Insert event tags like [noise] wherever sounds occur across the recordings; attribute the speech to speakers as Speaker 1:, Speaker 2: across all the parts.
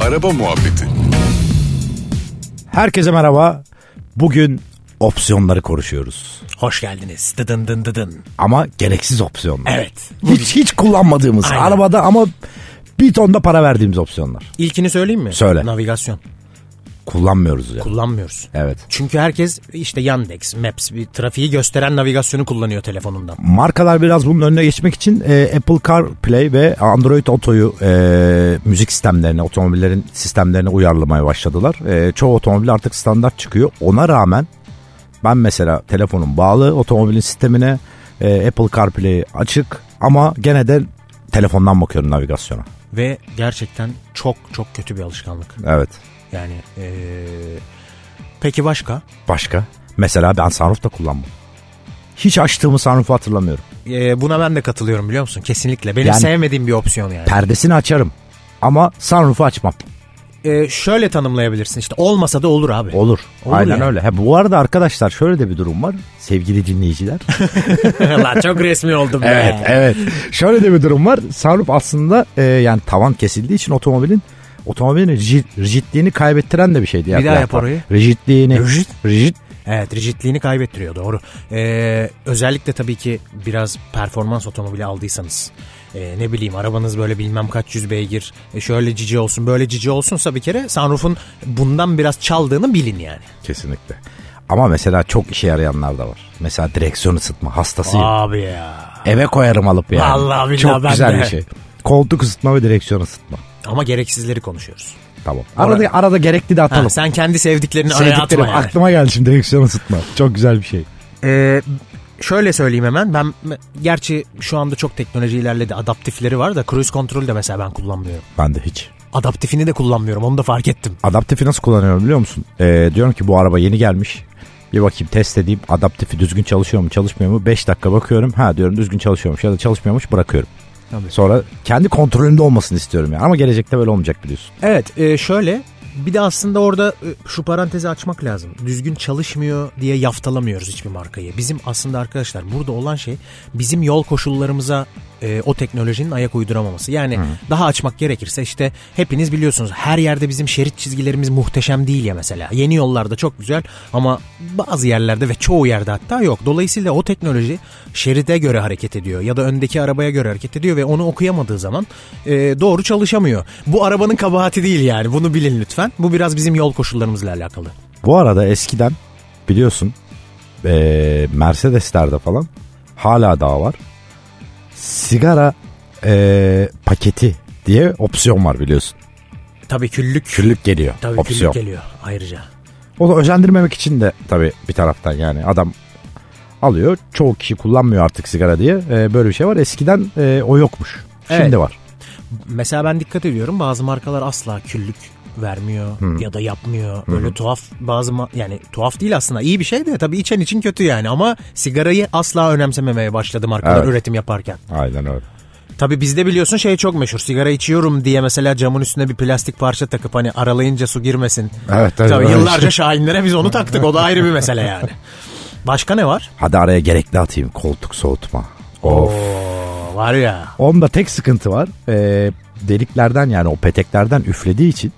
Speaker 1: Araba Muhabbeti
Speaker 2: Herkese merhaba. Bugün opsiyonları konuşuyoruz.
Speaker 3: Hoş geldiniz. Dıdın dın dıdın.
Speaker 2: Ama gereksiz opsiyonlar.
Speaker 3: Evet.
Speaker 2: Hiç, hiç kullanmadığımız
Speaker 3: Aynen.
Speaker 2: arabada ama bir tonda para verdiğimiz opsiyonlar.
Speaker 3: İlkini söyleyeyim mi?
Speaker 2: Söyle.
Speaker 3: Navigasyon.
Speaker 2: Kullanmıyoruz yani.
Speaker 3: Kullanmıyoruz.
Speaker 2: Evet.
Speaker 3: Çünkü herkes işte Yandex, Maps, bir trafiği gösteren navigasyonu kullanıyor telefonundan.
Speaker 2: Markalar biraz bunun önüne geçmek için e, Apple CarPlay ve Android Auto'yu e, müzik sistemlerine, otomobillerin sistemlerine uyarlamaya başladılar. E, çoğu otomobil artık standart çıkıyor. Ona rağmen ben mesela telefonum bağlı otomobilin sistemine, e, Apple CarPlay açık ama gene de telefondan bakıyorum navigasyona.
Speaker 3: Ve gerçekten çok çok kötü bir alışkanlık.
Speaker 2: Evet.
Speaker 3: Yani eee, peki başka?
Speaker 2: Başka? Mesela ben sunroof da kullanmam. Hiç açtığımı sunroofu hatırlamıyorum.
Speaker 3: Eee, buna ben de katılıyorum biliyor musun? Kesinlikle. Benim
Speaker 2: Yani-
Speaker 3: sevmediğim bir opsiyon yani.
Speaker 2: Perdesini açarım ama sunroofu açmam.
Speaker 3: Eee, şöyle tanımlayabilirsin işte olmasa da olur [laughs] abi.
Speaker 2: Olur.
Speaker 3: Olur
Speaker 2: Aynen
Speaker 3: yani.
Speaker 2: öyle. Ha, bu arada arkadaşlar şöyle de bir durum var. Sevgili dinleyiciler.
Speaker 3: Lan çok resmi oldum be.
Speaker 2: [laughs] evet. Şöyle de bir durum var. Sunroof aslında e, yani tavan kesildiği için otomobilin otomobilin riji- rigidliğini kaybettiren de bir şeydi.
Speaker 3: Bir daha yap orayı.
Speaker 2: Rigidliğini.
Speaker 3: Rigid?
Speaker 2: Rigid.
Speaker 3: Evet rigidliğini kaybettiriyor doğru. Ee, özellikle tabii ki biraz performans otomobili aldıysanız. Ee, ne bileyim arabanız böyle bilmem kaç yüz beygir e, şöyle cici olsun böyle cici olsunsa bir kere sunroof'un bundan biraz çaldığını bilin yani.
Speaker 2: Kesinlikle. Ama mesela çok işe yarayanlar da var. Mesela direksiyon ısıtma hastasıyım.
Speaker 3: Abi ya.
Speaker 2: Eve koyarım alıp yani.
Speaker 3: Vallahi billahi
Speaker 2: Çok
Speaker 3: ben
Speaker 2: güzel
Speaker 3: de.
Speaker 2: bir şey. Koltuk ısıtma ve direksiyon ısıtma.
Speaker 3: Ama gereksizleri konuşuyoruz.
Speaker 2: Tamam. Arada, arada gerekli de
Speaker 3: Ha,
Speaker 2: atalım.
Speaker 3: sen kendi sevdiklerini araya atma
Speaker 2: Sevdiklerim
Speaker 3: yani.
Speaker 2: aklıma geldi şimdi direksiyon ısıtma. Çok güzel bir şey.
Speaker 3: Ee, şöyle söyleyeyim hemen ben gerçi şu anda çok teknoloji ilerledi adaptifleri var da cruise kontrolü de mesela ben kullanmıyorum.
Speaker 2: Ben de hiç.
Speaker 3: Adaptifini de kullanmıyorum onu da fark ettim.
Speaker 2: Adaptifi nasıl kullanıyorum biliyor musun? Ee, diyorum ki bu araba yeni gelmiş. Bir bakayım test edeyim. Adaptifi düzgün çalışıyor mu çalışmıyor mu? 5 dakika bakıyorum. Ha diyorum düzgün çalışıyormuş ya da çalışmıyormuş bırakıyorum.
Speaker 3: Tabii.
Speaker 2: Sonra kendi kontrolümde olmasını istiyorum yani. Ama gelecekte böyle olmayacak biliyorsun.
Speaker 3: Evet e, şöyle bir de aslında orada e, şu parantezi açmak lazım. Düzgün çalışmıyor diye yaftalamıyoruz hiçbir markayı. Bizim aslında arkadaşlar burada olan şey bizim yol koşullarımıza e, o teknolojinin ayak uyduramaması. Yani daha açmak gerekirse işte hepiniz biliyorsunuz her yerde bizim şerit çizgilerimiz muhteşem değil ya mesela. Yeni yollarda çok güzel ama bazı yerlerde ve çoğu yerde hatta yok. Dolayısıyla o teknoloji şeride göre hareket ediyor ya da öndeki arabaya göre hareket ediyor ve onu okuyamadığı zaman e, doğru çalışamıyor. Bu arabanın kabahati değil yani bunu bilin lütfen. Bu biraz bizim yol koşullarımızla alakalı.
Speaker 2: Bu arada eskiden biliyorsun ee, Mercedes'lerde falan hala daha var. Sigara ee, paketi diye opsiyon var biliyorsun.
Speaker 3: Tabii küllük.
Speaker 2: Küllük geliyor.
Speaker 3: Tabii
Speaker 2: opsiyon.
Speaker 3: küllük geliyor ayrıca.
Speaker 2: O da özendirmemek için de tabii bir taraftan yani adam alıyor. Çoğu kişi kullanmıyor artık sigara diye. Ee, böyle bir şey var. Eskiden e, o yokmuş. Şimdi
Speaker 3: Evet.
Speaker 2: var.
Speaker 3: Mesela ben dikkat ediyorum bazı markalar asla küllük vermiyor ya da yapmıyor. Böyle tuhaf bazı ma- yani tuhaf değil aslında iyi bir şey de tabii içen için kötü yani ama sigarayı asla önemsememeye başladı markalar
Speaker 2: Evet.
Speaker 3: üretim yaparken.
Speaker 2: Aynen öyle.
Speaker 3: Tabii bizde biliyorsun şey çok meşhur sigara içiyorum diye mesela camın üstüne bir plastik parça takıp hani aralayınca su girmesin.
Speaker 2: Evet, tabii,
Speaker 3: tabii
Speaker 2: öyle
Speaker 3: yıllarca
Speaker 2: şey. [laughs]
Speaker 3: şahinlere biz onu taktık o da ayrı bir mesele yani. Başka ne var?
Speaker 2: Hadi araya gerekli atayım koltuk soğutma. Of.
Speaker 3: Oo, var ya.
Speaker 2: Onda tek sıkıntı var. Ee, deliklerden yani o peteklerden üflediği için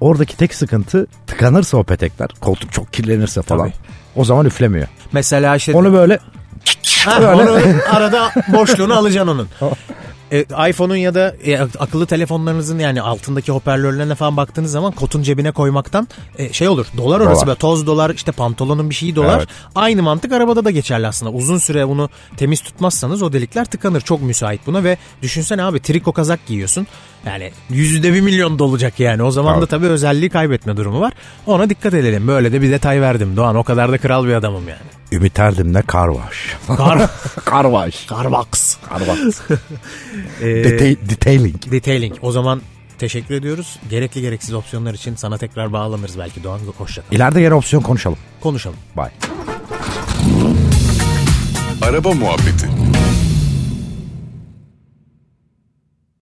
Speaker 2: oradaki tek sıkıntı tıkanırsa o petekler koltuk çok kirlenirse falan.
Speaker 3: Tabii.
Speaker 2: O zaman üflemiyor.
Speaker 3: Mesela işte
Speaker 2: Onu böyle
Speaker 3: Ha,
Speaker 2: Böyle.
Speaker 3: onu arada boşluğunu alacaksın onun. E, iPhone'un ya da e, akıllı telefonlarınızın yani altındaki hoparlörlerine falan baktığınız zaman kotun cebine koymaktan e, şey olur. Dolar orası
Speaker 2: Dolar.
Speaker 3: böyle toz dolar işte pantolonun bir şeyi dolar.
Speaker 2: Evet.
Speaker 3: Aynı mantık arabada da geçerli aslında. Uzun süre bunu temiz tutmazsanız o delikler tıkanır. Çok müsait buna ve düşünsene abi triko kazak giyiyorsun. Yani yüzde bir milyon dolacak yani. O zaman da
Speaker 2: Evet.
Speaker 3: tabii özelliği kaybetme durumu var. Ona dikkat edelim. Böyle de bir detay verdim Doğan. O kadar da kral bir adamım yani.
Speaker 2: Ümit Erdem'le karvaş. [laughs]
Speaker 3: Kar,
Speaker 2: karvaş.
Speaker 3: Starbucks.
Speaker 2: Karvaş.
Speaker 3: [laughs]
Speaker 2: Deta- detailing.
Speaker 3: Ee, Detailing. O zaman teşekkür ediyoruz. Gerekli gereksiz opsiyonlar için sana tekrar bağlanırız belki Doğan. Hoşça kal.
Speaker 2: İleride gene opsiyon konuşalım.
Speaker 3: Konuşalım.
Speaker 2: Bye.
Speaker 1: Araba Muhabbeti